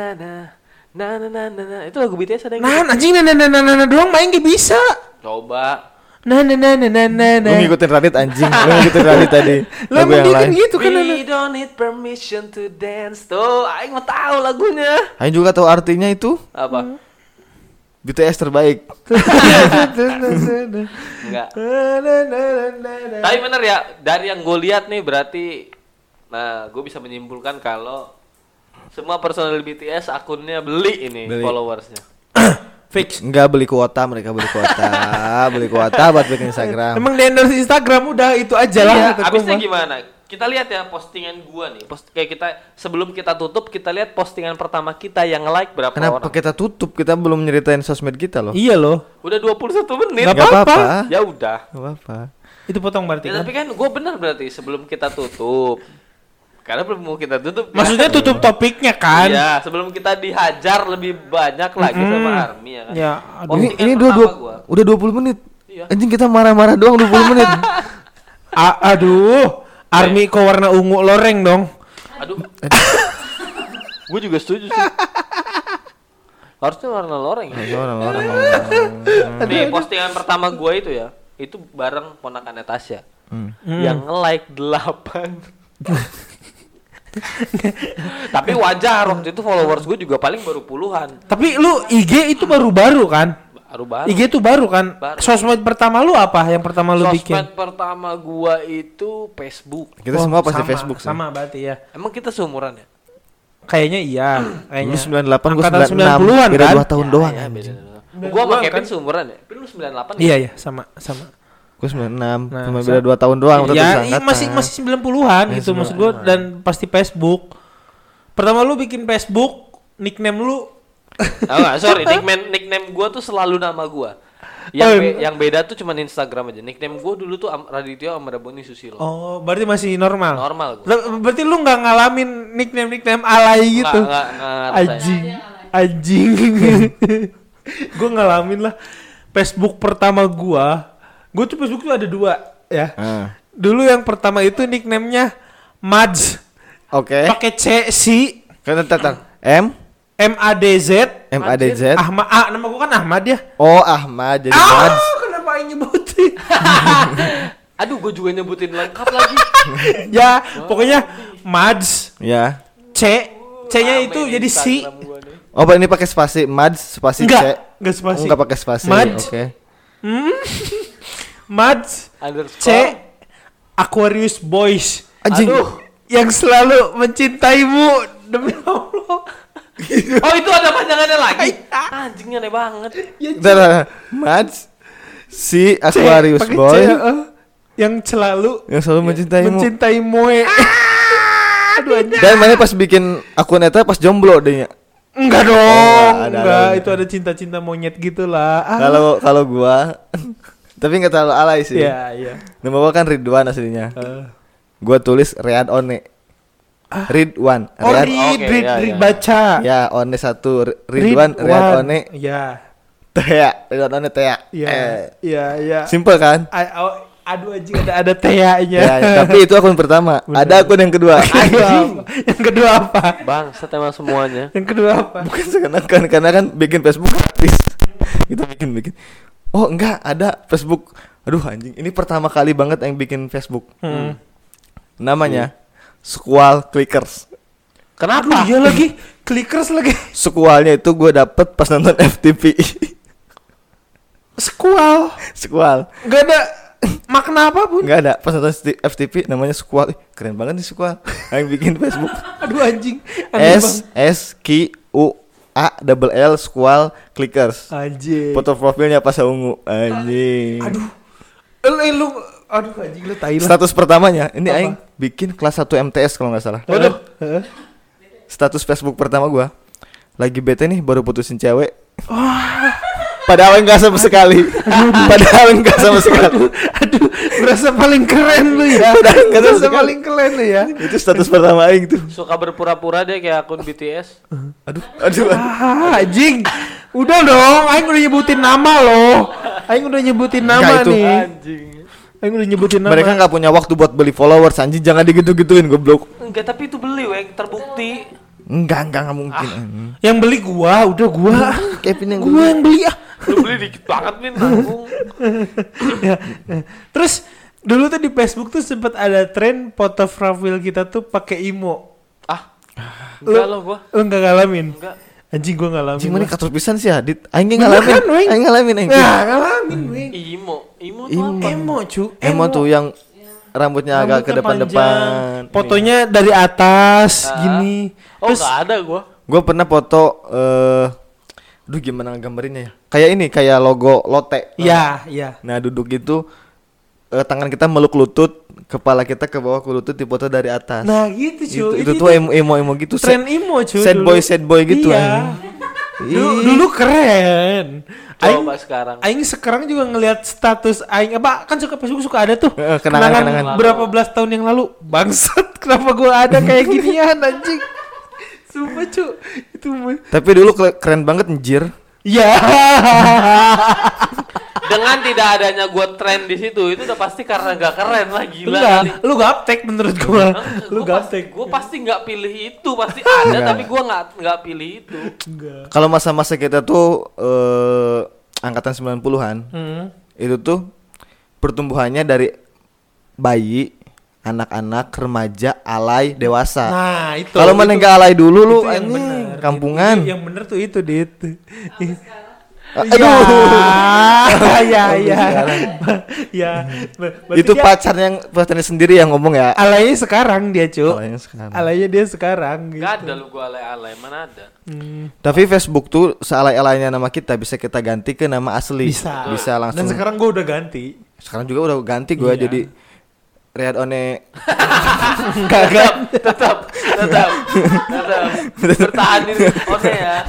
Speaker 2: na na na na itu lagu BTS ada yang gitu?
Speaker 3: Nah, anjing nah, nah, nah, nah, nah, nah, doang main gak bisa.
Speaker 2: coba
Speaker 3: Nah, nah, nah, nah, nah, nah,
Speaker 1: Lu
Speaker 3: nah.
Speaker 1: ngikutin Radit anjing. Lu ngikutin Radit tadi.
Speaker 3: Lah,
Speaker 1: Lagu
Speaker 3: emang
Speaker 1: yang
Speaker 3: dia kan
Speaker 1: lain.
Speaker 3: gitu kan. nah, nah.
Speaker 2: We don't need permission to dance tuh aing mau tahu lagunya
Speaker 1: Aing juga tahu artinya itu.
Speaker 2: apa
Speaker 1: BTS terbaik.
Speaker 2: enggak tapi bener ya dari yang gue lihat nih berarti nah gue bisa menyimpulkan kalau semua personel BTS akunnya beli ini
Speaker 1: Beli.
Speaker 2: followersnya
Speaker 1: Fix. Enggak beli kuota, mereka beli
Speaker 3: *laughs*
Speaker 1: kuota, beli kuota buat bikin *laughs* Instagram.
Speaker 3: Emang di endorse Instagram udah itu aja lah.
Speaker 2: Iya,
Speaker 3: kata gua
Speaker 2: abisnya
Speaker 3: mah.
Speaker 2: gimana? Kita lihat ya postingan gua nih. Post kayak kita sebelum kita tutup kita lihat postingan pertama kita yang like berapa
Speaker 1: Kenapa
Speaker 2: orang?
Speaker 1: kita tutup? Kita belum nyeritain sosmed kita loh.
Speaker 3: Iya loh.
Speaker 2: Udah 21 menit.
Speaker 1: Gak
Speaker 3: Nggak apa-apa.
Speaker 1: apa-apa.
Speaker 2: Ya udah.
Speaker 1: Gak apa-apa.
Speaker 3: Itu potong berarti
Speaker 2: Ya,
Speaker 3: kan?
Speaker 2: tapi kan gua benar berarti sebelum kita tutup. Karena belum mau kita tutup. kan?
Speaker 3: Maksudnya tutup topiknya kan?
Speaker 2: Iya, sebelum kita dihajar lebih banyak lagi sama Army ya kan.
Speaker 3: Ya,
Speaker 1: Ini,
Speaker 3: aduh.
Speaker 2: Postingan
Speaker 1: ini dua,
Speaker 2: pertama
Speaker 1: dua,
Speaker 2: gua.
Speaker 1: udah 20 menit.
Speaker 2: Iya.
Speaker 1: Anjing kita marah-marah doang 20
Speaker 3: *laughs*
Speaker 1: menit.
Speaker 3: A- aduh, army
Speaker 2: Iya.
Speaker 3: kok warna ungu loreng dong.
Speaker 2: Aduh. gua juga setuju sih. Harusnya warna loreng ya.
Speaker 1: Orang orang orang.
Speaker 2: Nih, postingan pertama gua itu ya, itu bareng ponakannya Tasya.
Speaker 1: Hmm.
Speaker 2: Yang nge-like
Speaker 3: *laughs*
Speaker 2: 8. Tapi wajar waktu itu followers gue juga paling baru puluhan.
Speaker 3: Tapi lu IG itu baru-baru kan?
Speaker 2: Baru baru.
Speaker 3: IG itu baru kan?
Speaker 2: Baru.
Speaker 3: Sosmed pertama lu apa? Yang pertama lu
Speaker 2: Sosmed
Speaker 3: bikin?
Speaker 2: pertama gua itu Facebook.
Speaker 1: Kita
Speaker 3: Oh,
Speaker 1: semua pasti
Speaker 3: sama,
Speaker 1: Facebook sih.
Speaker 3: Sama berarti ya.
Speaker 2: Emang kita seumuran ya?
Speaker 3: Kayaknya iya, kayaknya.
Speaker 1: Dulu 98 gua
Speaker 3: Angkatan
Speaker 1: 96.
Speaker 3: 90-an
Speaker 1: Beda
Speaker 3: kan?
Speaker 1: 2 tahun doang.
Speaker 2: ya, beda.
Speaker 1: anjing.
Speaker 2: Gua sama
Speaker 3: Gua
Speaker 2: Kevin
Speaker 3: kan-
Speaker 2: seumuran ya. Tapi lu 98 ya?
Speaker 3: Iya, iya, sama, sama.
Speaker 1: Gua 96,
Speaker 3: Nah,
Speaker 1: cuma
Speaker 3: sa-
Speaker 1: beda 2 tahun doang waktu itu
Speaker 3: Iya, iya,
Speaker 1: seangkatan.
Speaker 3: masih masih 90-an
Speaker 1: Iya,
Speaker 3: gitu maksud gua dan pasti Facebook. Pertama lu bikin Facebook, nickname lu
Speaker 2: Ah, enggak,
Speaker 3: *laughs*
Speaker 2: sorry, nickname nickname gua tuh selalu nama gua. Yang
Speaker 3: Oh,
Speaker 2: be-
Speaker 3: iya.
Speaker 2: yang beda tuh cuman Instagram aja. Nickname gua dulu tuh Am- Radityo Amraboni Susilo.
Speaker 3: Oh, berarti masih normal.
Speaker 2: Normal gua.
Speaker 3: Ber- Berarti lu nggak ngalamin nickname nickname alay gitu.
Speaker 2: Nggak, nggak, nggak ngerasain.
Speaker 3: anjing, anjing. *laughs* gue ngalamin lah. Facebook pertama gua, gue tuh Facebook tuh ada dua ya.
Speaker 1: Ah.
Speaker 3: Dulu yang pertama itu nicknamenya Mads,
Speaker 1: Oke.
Speaker 3: pakai C si
Speaker 1: Kan tar, tar. M
Speaker 3: M A D Z.
Speaker 1: M A D Z
Speaker 3: Ahmad, ah, nama gue kan Ahmad ya.
Speaker 1: O Ahmad jadi
Speaker 3: Ah,
Speaker 1: Mads.
Speaker 3: kenapa ini nyebutin?
Speaker 2: *laughs*
Speaker 3: *laughs*
Speaker 2: Aduh, gue juga nyebutin lengkap lagi.
Speaker 3: ya, pokoknya Mads
Speaker 1: Ya.
Speaker 3: C C-nya itu
Speaker 2: Rame
Speaker 3: jadi si
Speaker 2: Instagram gua nih.
Speaker 1: Oh, Pak, ini pakai spasi Mads spasi
Speaker 3: Enggak,
Speaker 1: C.
Speaker 3: enggak spasi.
Speaker 1: Oh, Enggak pakai spasi.
Speaker 3: Mads.
Speaker 1: Oke.
Speaker 3: Mads
Speaker 2: Underscore.
Speaker 3: C Aquarius Boys
Speaker 1: Anjing.
Speaker 2: Oh. Aduh.
Speaker 3: yang selalu mencintaimu demi Allah.
Speaker 2: Oh, itu ada panjangannya lagi. Anjingnya aneh banget.
Speaker 1: Bentar, bentar. Mads si *laughs* Aquarius
Speaker 3: pakai C, Iya,
Speaker 1: boy
Speaker 3: eh. yang selalu
Speaker 1: yang selalu mencintaimu.
Speaker 3: mencintai Moe.
Speaker 1: Ah,
Speaker 3: *laughs* Aduh anjing.
Speaker 1: Dan mana pas bikin akun eta pas jomblo deh ya.
Speaker 3: Enggak dong.
Speaker 1: ada, ada,
Speaker 3: enggak,
Speaker 1: ada.
Speaker 3: itu ada cinta-cinta monyet gitulah. Ah.
Speaker 1: Kalau kalau gua *laughs* tapi nggak terlalu alay sih.
Speaker 3: Iya, iya.
Speaker 1: Nama gua kan Ridwan aslinya.
Speaker 3: Eh.
Speaker 1: Gua tulis Rian One. Ridwan.
Speaker 3: Oh,
Speaker 1: Rian-
Speaker 2: Ri-
Speaker 3: read,
Speaker 2: oke,
Speaker 3: read,
Speaker 2: ya,
Speaker 3: read,
Speaker 2: ya.
Speaker 3: baca.
Speaker 1: Ya, One satu Ri- Ridwan, Rian One,
Speaker 3: Ya.
Speaker 1: Tea, Ridwan One Tea.
Speaker 3: Ya,
Speaker 1: Eh,
Speaker 3: ya, ya.
Speaker 1: Simple kan?
Speaker 3: A- a- Aduh anjing ada ada tea-nya.
Speaker 1: Ya,
Speaker 3: *laughs*
Speaker 1: tapi eh, itu akun pertama. Ada akun yang kedua.
Speaker 3: Anjing. Yang kedua apa?
Speaker 2: Bang, emang semuanya.
Speaker 3: Yang kedua apa?
Speaker 1: *laughs* Bukan sekarang kan karena kan bikin Facebook *laughs* gratis. Kita bikin bikin. Oh, enggak, ada Facebook. Aduh anjing, ini pertama kali banget yang bikin Facebook.
Speaker 3: Hmm.
Speaker 1: Namanya Squall Clickers.
Speaker 3: Aduh,
Speaker 2: Kenapa?
Speaker 3: iya lagi. Clickers lagi.
Speaker 1: Squallnya itu gue dapet pas nonton *laughs* FTP.
Speaker 3: Squall.
Speaker 1: Squall.
Speaker 3: Gak ada makna apapun.
Speaker 1: Enggak ada pas nonton sti- FTP namanya Squall. Ih, Keren banget nih Squall. *laughs* yang bikin Facebook.
Speaker 3: Aduh anjing. Aneh
Speaker 1: S
Speaker 3: banget.
Speaker 1: S Q U A double L Squall
Speaker 3: Ah,
Speaker 1: Clickers.
Speaker 3: Anjing.
Speaker 1: Foto profilnya pas ungu anjing.
Speaker 3: iya. Aduh. Eh, lu- eh, lu aduh anjing lu tai lah.
Speaker 1: Status pertamanya ini
Speaker 3: Apa?
Speaker 1: aing bikin kelas 1 MTS kalau nggak salah.
Speaker 3: Waduh. Heeh.
Speaker 1: Status Facebook pertama gua lagi bete nih baru putusin cewek. Padahal enggak sama sekali. Padahal enggak sama sekali.
Speaker 3: Aduh, berasa paling keren lu ya.
Speaker 1: Padahal enggak sama
Speaker 3: Berasa
Speaker 1: sekali.
Speaker 3: paling keren lu ya.
Speaker 1: Itu status pertama aing tuh.
Speaker 2: Suka berpura-pura deh kayak akun BTS.
Speaker 1: Aduh, aduh. aduh.
Speaker 3: Ah, anjing. Udah dong, aing udah nyebutin nama loh. Aing udah nyebutin nama
Speaker 1: Enggak, itu.
Speaker 3: nih.
Speaker 2: Anjing.
Speaker 3: Aing udah nyebutin nama.
Speaker 1: Mereka nggak punya waktu buat beli followers anjing jangan digitu-gituin goblok.
Speaker 2: Enggak, tapi itu beli weng terbukti.
Speaker 1: Enggak, enggak enggak mungkin.
Speaker 3: Ah.
Speaker 1: anjing.
Speaker 3: yang beli gua, udah gua.
Speaker 1: Kevin yang
Speaker 3: gua yang beli ah.
Speaker 2: Lu beli dikit banget nih nanggung.
Speaker 3: Ya. Terus dulu tuh di Facebook tuh sempet ada tren foto profil kita tuh pakai imo.
Speaker 2: Ah. Enggak loh gua.
Speaker 3: Lu nggak ngalamin?
Speaker 2: Enggak.
Speaker 3: Anjing gua ngalamin.
Speaker 1: Anjing mana
Speaker 3: Mas.
Speaker 1: katur pisan sih Adit. Aing
Speaker 3: Bener
Speaker 1: ngalamin.
Speaker 3: kan, Weng?
Speaker 1: Aing ngalamin aing.
Speaker 3: Nah, ngalamin gue.
Speaker 2: Imo. Imo tuh
Speaker 1: Imo.
Speaker 2: apa?
Speaker 3: Emo cu.
Speaker 1: Emo tuh yang rambutnya agak ke
Speaker 3: Rambutnya panjang.
Speaker 1: depan-depan.
Speaker 3: Fotonya dari atas
Speaker 2: Ah.
Speaker 3: gini.
Speaker 2: Oh,
Speaker 3: Terus
Speaker 2: enggak ada gua.
Speaker 1: Gue pernah foto eh aduh gimana gambarinnya ya? Kayak ini, kayak logo Lotte.
Speaker 3: ya, ya.
Speaker 1: Nah, duduk gitu eh, tangan kita meluk lutut, kepala kita ke bawah ke lutut dipoto dari atas.
Speaker 3: Nah, gitu
Speaker 1: Gitu,
Speaker 3: cu.
Speaker 1: itu,
Speaker 3: Ini
Speaker 1: tuh emo emo emo gitu.
Speaker 3: tren
Speaker 1: sad-
Speaker 3: emo cu.
Speaker 1: sad
Speaker 3: dulu.
Speaker 1: boy sad boy gitu
Speaker 3: Iya.
Speaker 1: anjing.
Speaker 3: Dulu, dulu keren. Aing
Speaker 2: Coba sekarang.
Speaker 3: Aing sekarang juga ngelihat status Aing apa kan suka Facebook suka ada tuh
Speaker 1: Heeh, Eh, kenangan- kenangan.
Speaker 3: berapa belas tahun yang lalu bangsat *laughs* kenapa gua ada kayak ginian anjing sumpah cu itu mah-
Speaker 1: Tapi dulu kle- keren banget anjir.
Speaker 3: ya
Speaker 2: Dengan tidak adanya gua tren di situ, itu udah pasti karena enggak keren lah gila.
Speaker 3: enggak
Speaker 2: kali.
Speaker 3: lu gaptek menurut gua lu
Speaker 2: Gua pasti,
Speaker 3: gaptek
Speaker 2: gua pasti nggak pilih itu pasti ada tapi gua nggak nggak pilih itu
Speaker 3: enggak
Speaker 1: Kalau masa-masa kita tuh eh angkatan 90-an.
Speaker 3: Hmm.
Speaker 1: Itu tuh pertumbuhannya dari bayi, anak-anak, remaja, alay, dewasa.
Speaker 3: nah itu
Speaker 1: Kalau mana
Speaker 3: itu-
Speaker 1: nggak alay dulu lu
Speaker 3: itu yang
Speaker 1: anjing,
Speaker 3: bener.
Speaker 1: kampungan.
Speaker 3: Itu yang Iya. bener tuh itu dit
Speaker 1: Aduh.
Speaker 3: *laughs* ya ya
Speaker 1: Sekarang.
Speaker 3: ya Ber- berarti
Speaker 1: *laughs* itu
Speaker 3: dia-
Speaker 1: pacarnya yang pacarnya sendiri yang ngomong ya.
Speaker 3: alaynya sekarang dia cu
Speaker 1: Alaynya sekarang.
Speaker 3: alaynya dia sekarang gitu. Hmm.
Speaker 2: nggak ada lu gua alay alay mana ada
Speaker 1: Tapi Facebook tuh sealai-alainya nama kita bisa kita ganti ke nama asli.
Speaker 3: bisa
Speaker 1: Bisa langsung.
Speaker 3: dan sekarang gue udah ganti
Speaker 1: sekarang juga udah ganti gue
Speaker 3: Iya.
Speaker 1: jadi Rehat *laughs* One
Speaker 2: tetap tetap tetap tetap bertahan diri oke ya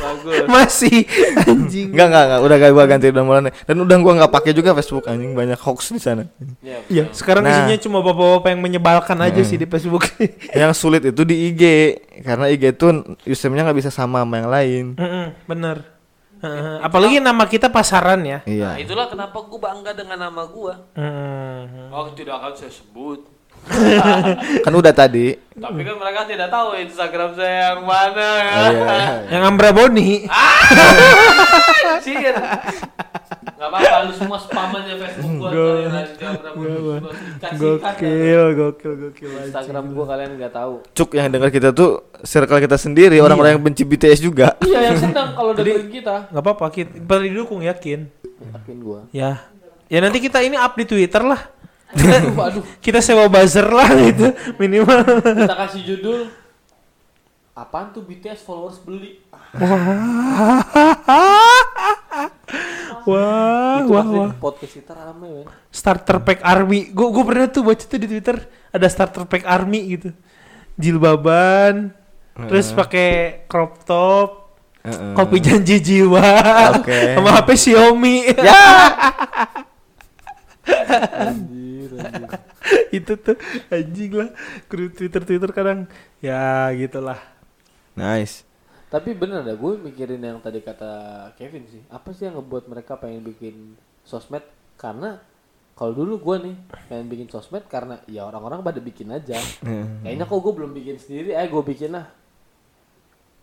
Speaker 2: bagus
Speaker 3: *laughs* masih anjing
Speaker 1: Enggak enggak enggak udah gue ganti udah mulai dan udah gua nggak pakai juga Facebook anjing banyak hoax di sana.
Speaker 2: ya, betul.
Speaker 3: ya Hmm. sekarang
Speaker 1: Nah.
Speaker 3: isinya cuma bapak-bapak yang menyebalkan aja sih di *laughs* Facebook
Speaker 1: Yang sulit itu di IG karena IG tuh username-nya nggak bisa sama sama yang lain.
Speaker 3: Mm-mm, Hmm, bener Heeh, apalagi nama kita pasaran ya
Speaker 1: Iya.
Speaker 2: nah, itulah kenapa gua bangga dengan nama gua
Speaker 3: Mm.
Speaker 2: oh tidak akan saya sebut
Speaker 1: Kan udah tadi.
Speaker 3: Hmm.
Speaker 2: tapi kan mereka tidak tahu Instagram saya yang mana ya
Speaker 3: Oh,
Speaker 1: Iya, iya, iya.
Speaker 3: yang Ambra Boni
Speaker 2: Anjir. Gak apa-apa lu semua spamannya Facebook gua kalian aja berapa
Speaker 3: gokil gokil gokil anjing.
Speaker 2: Instagram gua kalian nggak tahu
Speaker 1: Cuk yang dengar kita tuh circle kita sendiri orang-orang yang benci BTS juga.
Speaker 2: Iya yang senang kalau dengerin kita.
Speaker 3: nggak apa-apa kita beri dukung yakin
Speaker 2: Yakin gua.
Speaker 3: ya ya nanti kita ini up di Twitter lah kita, kita sewa buzzer lah *laughs* gitu minimal
Speaker 2: Kita kasih judul Apaan tuh BTS followers beli?
Speaker 3: wah
Speaker 2: Itu
Speaker 3: Ah, wah
Speaker 2: pasti
Speaker 3: wah
Speaker 2: di podcast kita rame men.
Speaker 3: starter pack army gue gue pernah tuh baca tuh di twitter ada starter pack army gitu jilbaban terus pakai crop top
Speaker 1: Heeh.
Speaker 3: kopi janji jiwa
Speaker 1: Oke.
Speaker 3: *laughs* sama hp xiaomi
Speaker 1: Ya!
Speaker 3: itu tuh anjing lah kru twitter twitter kadang ya gitulah
Speaker 1: Nice.
Speaker 2: Tapi bener dah gue mikirin yang tadi kata Kevin sih. Apa sih yang ngebuat mereka pengen bikin sosmed? Karena kalau dulu gue nih pengen bikin sosmed karena ya orang-orang pada bikin aja.
Speaker 3: Hmm.
Speaker 1: Heeh.
Speaker 2: Kayaknya kok gue belum bikin sendiri, eh gue bikin lah.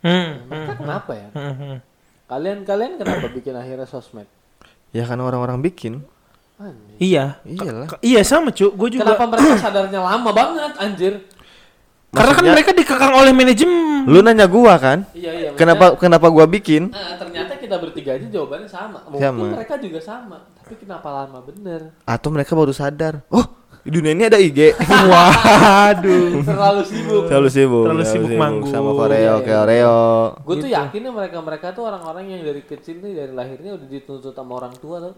Speaker 1: Hmm.
Speaker 2: Mereka kenapa ya?
Speaker 3: Hmm,
Speaker 2: Kalian-kalian kenapa bikin akhirnya sosmed?
Speaker 1: Ya kan orang-orang bikin.
Speaker 2: Anjir.
Speaker 3: iya
Speaker 1: Iyalah.
Speaker 3: Ke- iya sama cu gue juga
Speaker 2: Kenapa mereka sadarnya lama banget anjir?
Speaker 3: karena kan
Speaker 1: Maksudnya-
Speaker 3: mereka dikekang oleh manajemen
Speaker 1: Lu nanya gua kan?
Speaker 2: Iya iya. maksudnya-
Speaker 1: Kenapa kenapa gua bikin?
Speaker 2: Ah, ternyata kita bertiga aja jawabannya sama. Mungkin
Speaker 1: Sama.
Speaker 2: mereka juga sama. Tapi kenapa lama bener? *laughs*
Speaker 1: Atau mereka baru sadar. Oh, di dunia ini ada *laughs* IG.
Speaker 3: waduh
Speaker 2: Terlalu sibuk.
Speaker 1: terlalu sibuk.
Speaker 3: Terlalu sibuk manggung.
Speaker 1: sama Koreo,
Speaker 2: Iya, iya.
Speaker 1: Koreo.
Speaker 2: Gue
Speaker 1: Gitu.
Speaker 2: tuh yakinnya mereka-mereka tuh orang-orang yang dari kecil nih dari lahirnya udah dituntut sama orang tua tuh.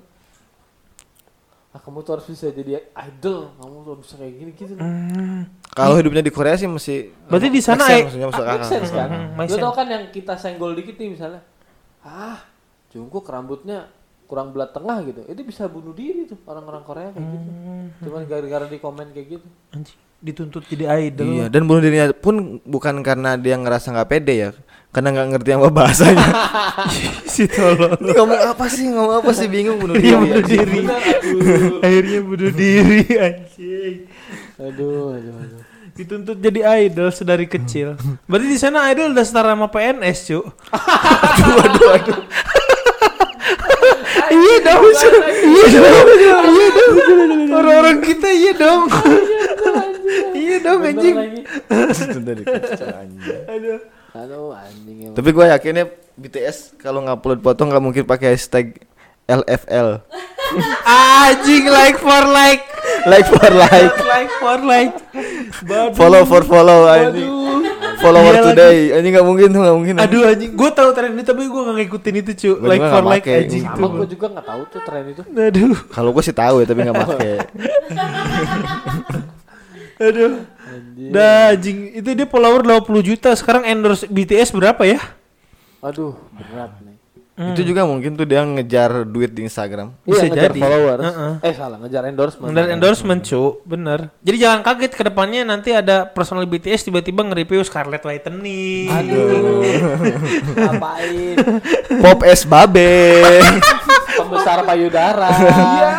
Speaker 2: Ah, kamu tuh harus bisa jadi idol, kamu tuh harus bisa kayak gini gitu.
Speaker 3: Hmm,
Speaker 1: Kalau hidupnya di Korea sih masih
Speaker 3: Berarti di
Speaker 1: Make
Speaker 3: sana
Speaker 1: sense,
Speaker 3: eh,
Speaker 1: maksudnya masuk
Speaker 2: Ah, make
Speaker 1: akal.
Speaker 2: sense kan?
Speaker 3: Hmm, make
Speaker 2: Lu tau
Speaker 3: sense.
Speaker 2: kan yang kita senggol dikit nih misalnya. Ah, Jungkook rambutnya kurang belah tengah gitu. Itu bisa bunuh diri tuh orang-orang Korea kayak gitu. Cuman gara-gara di komen kayak gitu.
Speaker 3: Anjing, dituntut jadi idol. *laughs*
Speaker 1: Iya, dan bunuh dirinya pun bukan karena dia ngerasa nggak pede ya, karena nggak ngerti apa
Speaker 3: *laughs*
Speaker 1: bahasanya.
Speaker 3: si tolol.
Speaker 1: Ini ngomong apa sih? Ngomong apa sih? Bingung bunuh
Speaker 3: Iya,
Speaker 1: diri. *laughs*
Speaker 3: bunuh
Speaker 1: anjing.
Speaker 3: diri.
Speaker 2: Bener, aduh.
Speaker 3: Akhirnya bunuh diri anjing.
Speaker 2: Aduh, aduh, aduh.
Speaker 3: Dituntut jadi idol sedari kecil. Berarti di sana idol udah setara sama PNS, cu. *laughs* iya dong, cu. Iya dong. Iya dong. Orang-orang kita iya dong. Iya dong
Speaker 2: Bener
Speaker 3: anjing.
Speaker 2: lagi.
Speaker 1: Dari kecil, anjing.
Speaker 3: Aduh.
Speaker 2: Aduh, anjing emang.
Speaker 1: Tapi ya, gue yakinnya BTS kalau ngupload foto nggak mungkin pakai hashtag LFL.
Speaker 3: Anjing like for like.
Speaker 1: Like for like,
Speaker 3: Like for like. Bad.
Speaker 1: follow for follow anjing.
Speaker 3: Aduh. Iya
Speaker 1: Follower
Speaker 3: lagi.
Speaker 1: today. Anjing nggak mungkin tuh, nggak mungkin.
Speaker 3: Aduh anjing, gue tahu tren ini tapi gue gak ngikutin itu cu
Speaker 1: Nah, Gua
Speaker 3: Like
Speaker 1: juga
Speaker 3: for
Speaker 1: nggak
Speaker 3: like
Speaker 1: pakai.
Speaker 3: anjing
Speaker 1: Sama
Speaker 3: tuh
Speaker 2: Emang gue juga nggak tahu tuh tren itu.
Speaker 3: Aduh,
Speaker 1: Kalau gue sih tahu ya, tapi nggak pakai.
Speaker 3: aduh
Speaker 2: Anjing.
Speaker 3: Dah anjing, itu dia follower 80 juta Sekarang endorse BTS berapa ya?
Speaker 2: Aduh, berat nih.
Speaker 1: Itu juga mungkin tuh dia ngejar duit di Instagram. *laughs*
Speaker 3: Bisa
Speaker 2: Iya, ngejar
Speaker 3: jadi.
Speaker 2: followers.
Speaker 3: Heeh.
Speaker 2: Eh, salah, ngejar endorsement.
Speaker 3: Bener endorsement cu, bener Jadi jangan kaget ke depannya nanti ada personal BTS tiba-tiba nge-review Scarlett Whitney
Speaker 2: Aduh. Ngapain?
Speaker 1: Pop es
Speaker 2: *laughs*
Speaker 1: babe.
Speaker 2: Pembesar payudara.
Speaker 3: Iya.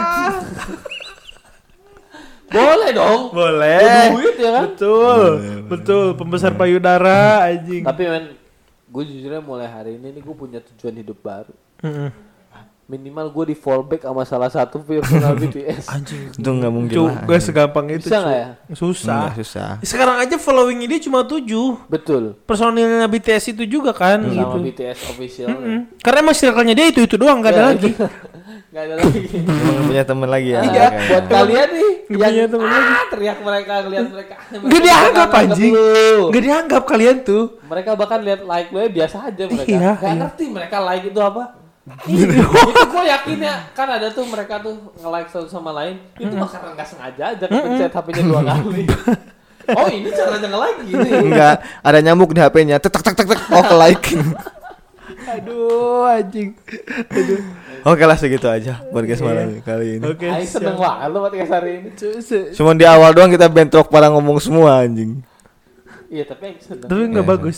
Speaker 2: Boleh dong.
Speaker 3: Boleh
Speaker 2: Duit ya kan?
Speaker 3: Betul, betul Pembesar payudara anjing
Speaker 2: Tapi men, gue jujurnya mulai hari ini nih gue punya tujuan hidup baru.
Speaker 3: Mm-mm.
Speaker 2: Minimal gue di fallback sama salah satu
Speaker 3: *laughs*
Speaker 2: personal BTS.
Speaker 3: Anjing
Speaker 1: itu nggak mungkin
Speaker 3: Cu,
Speaker 1: lah.
Speaker 3: gak segampang itu
Speaker 2: Bisa
Speaker 3: cu.
Speaker 2: nggak ya?
Speaker 1: Nggak
Speaker 3: Susah
Speaker 1: susah.
Speaker 3: Sekarang aja following dia cuma 7
Speaker 2: Betul.
Speaker 3: personilnya BTS itu juga kan gitu.
Speaker 2: Sama BTS official. Iya.
Speaker 3: Mm-mm. Karena emang circle-nya dia itu itu doang gak ada
Speaker 2: Ya, *laughs*
Speaker 3: lagi.
Speaker 2: Gak ada
Speaker 3: *laughs*
Speaker 2: lagi.
Speaker 1: Emang punya temen lagi ya.
Speaker 2: Iya, buat kalian nih
Speaker 3: Nggak
Speaker 2: yang
Speaker 3: punya temen
Speaker 2: ah, teriak mereka ngeliat mereka.
Speaker 3: Gak dianggap
Speaker 2: Mereka
Speaker 3: anjing.
Speaker 2: nganggep lu.
Speaker 3: Gak dianggap kalian tuh.
Speaker 2: Mereka bahkan lihat like gue biasa aja mereka.
Speaker 3: Iya,
Speaker 2: Gak
Speaker 3: iya.
Speaker 2: ngerti mereka like itu
Speaker 3: *laughs*
Speaker 2: apa. itu gue yakin ya kan ada tuh mereka tuh nge-like satu sama lain itu mah karena nggak sengaja aja kan pencet HP-nya
Speaker 3: *laughs*
Speaker 2: dua kali oh ini caranya nge-like gini
Speaker 1: Enggak, ada nyamuk di HP-nya. Tek tek tek tek. tek. Oh, ke
Speaker 2: *laughs*
Speaker 1: like.
Speaker 3: Aduh anjing.
Speaker 1: Oke lah segitu aja podcast
Speaker 2: Iya.
Speaker 1: malam ini- kali ini.
Speaker 3: Oke.
Speaker 2: Aing seneng banget lo podcast hari ini
Speaker 3: Cu- se-
Speaker 1: Cuman di awal doang kita bentrok pada ngomong semua anjing.
Speaker 2: iya tapi Aing seneng
Speaker 3: Tapi gak bagus.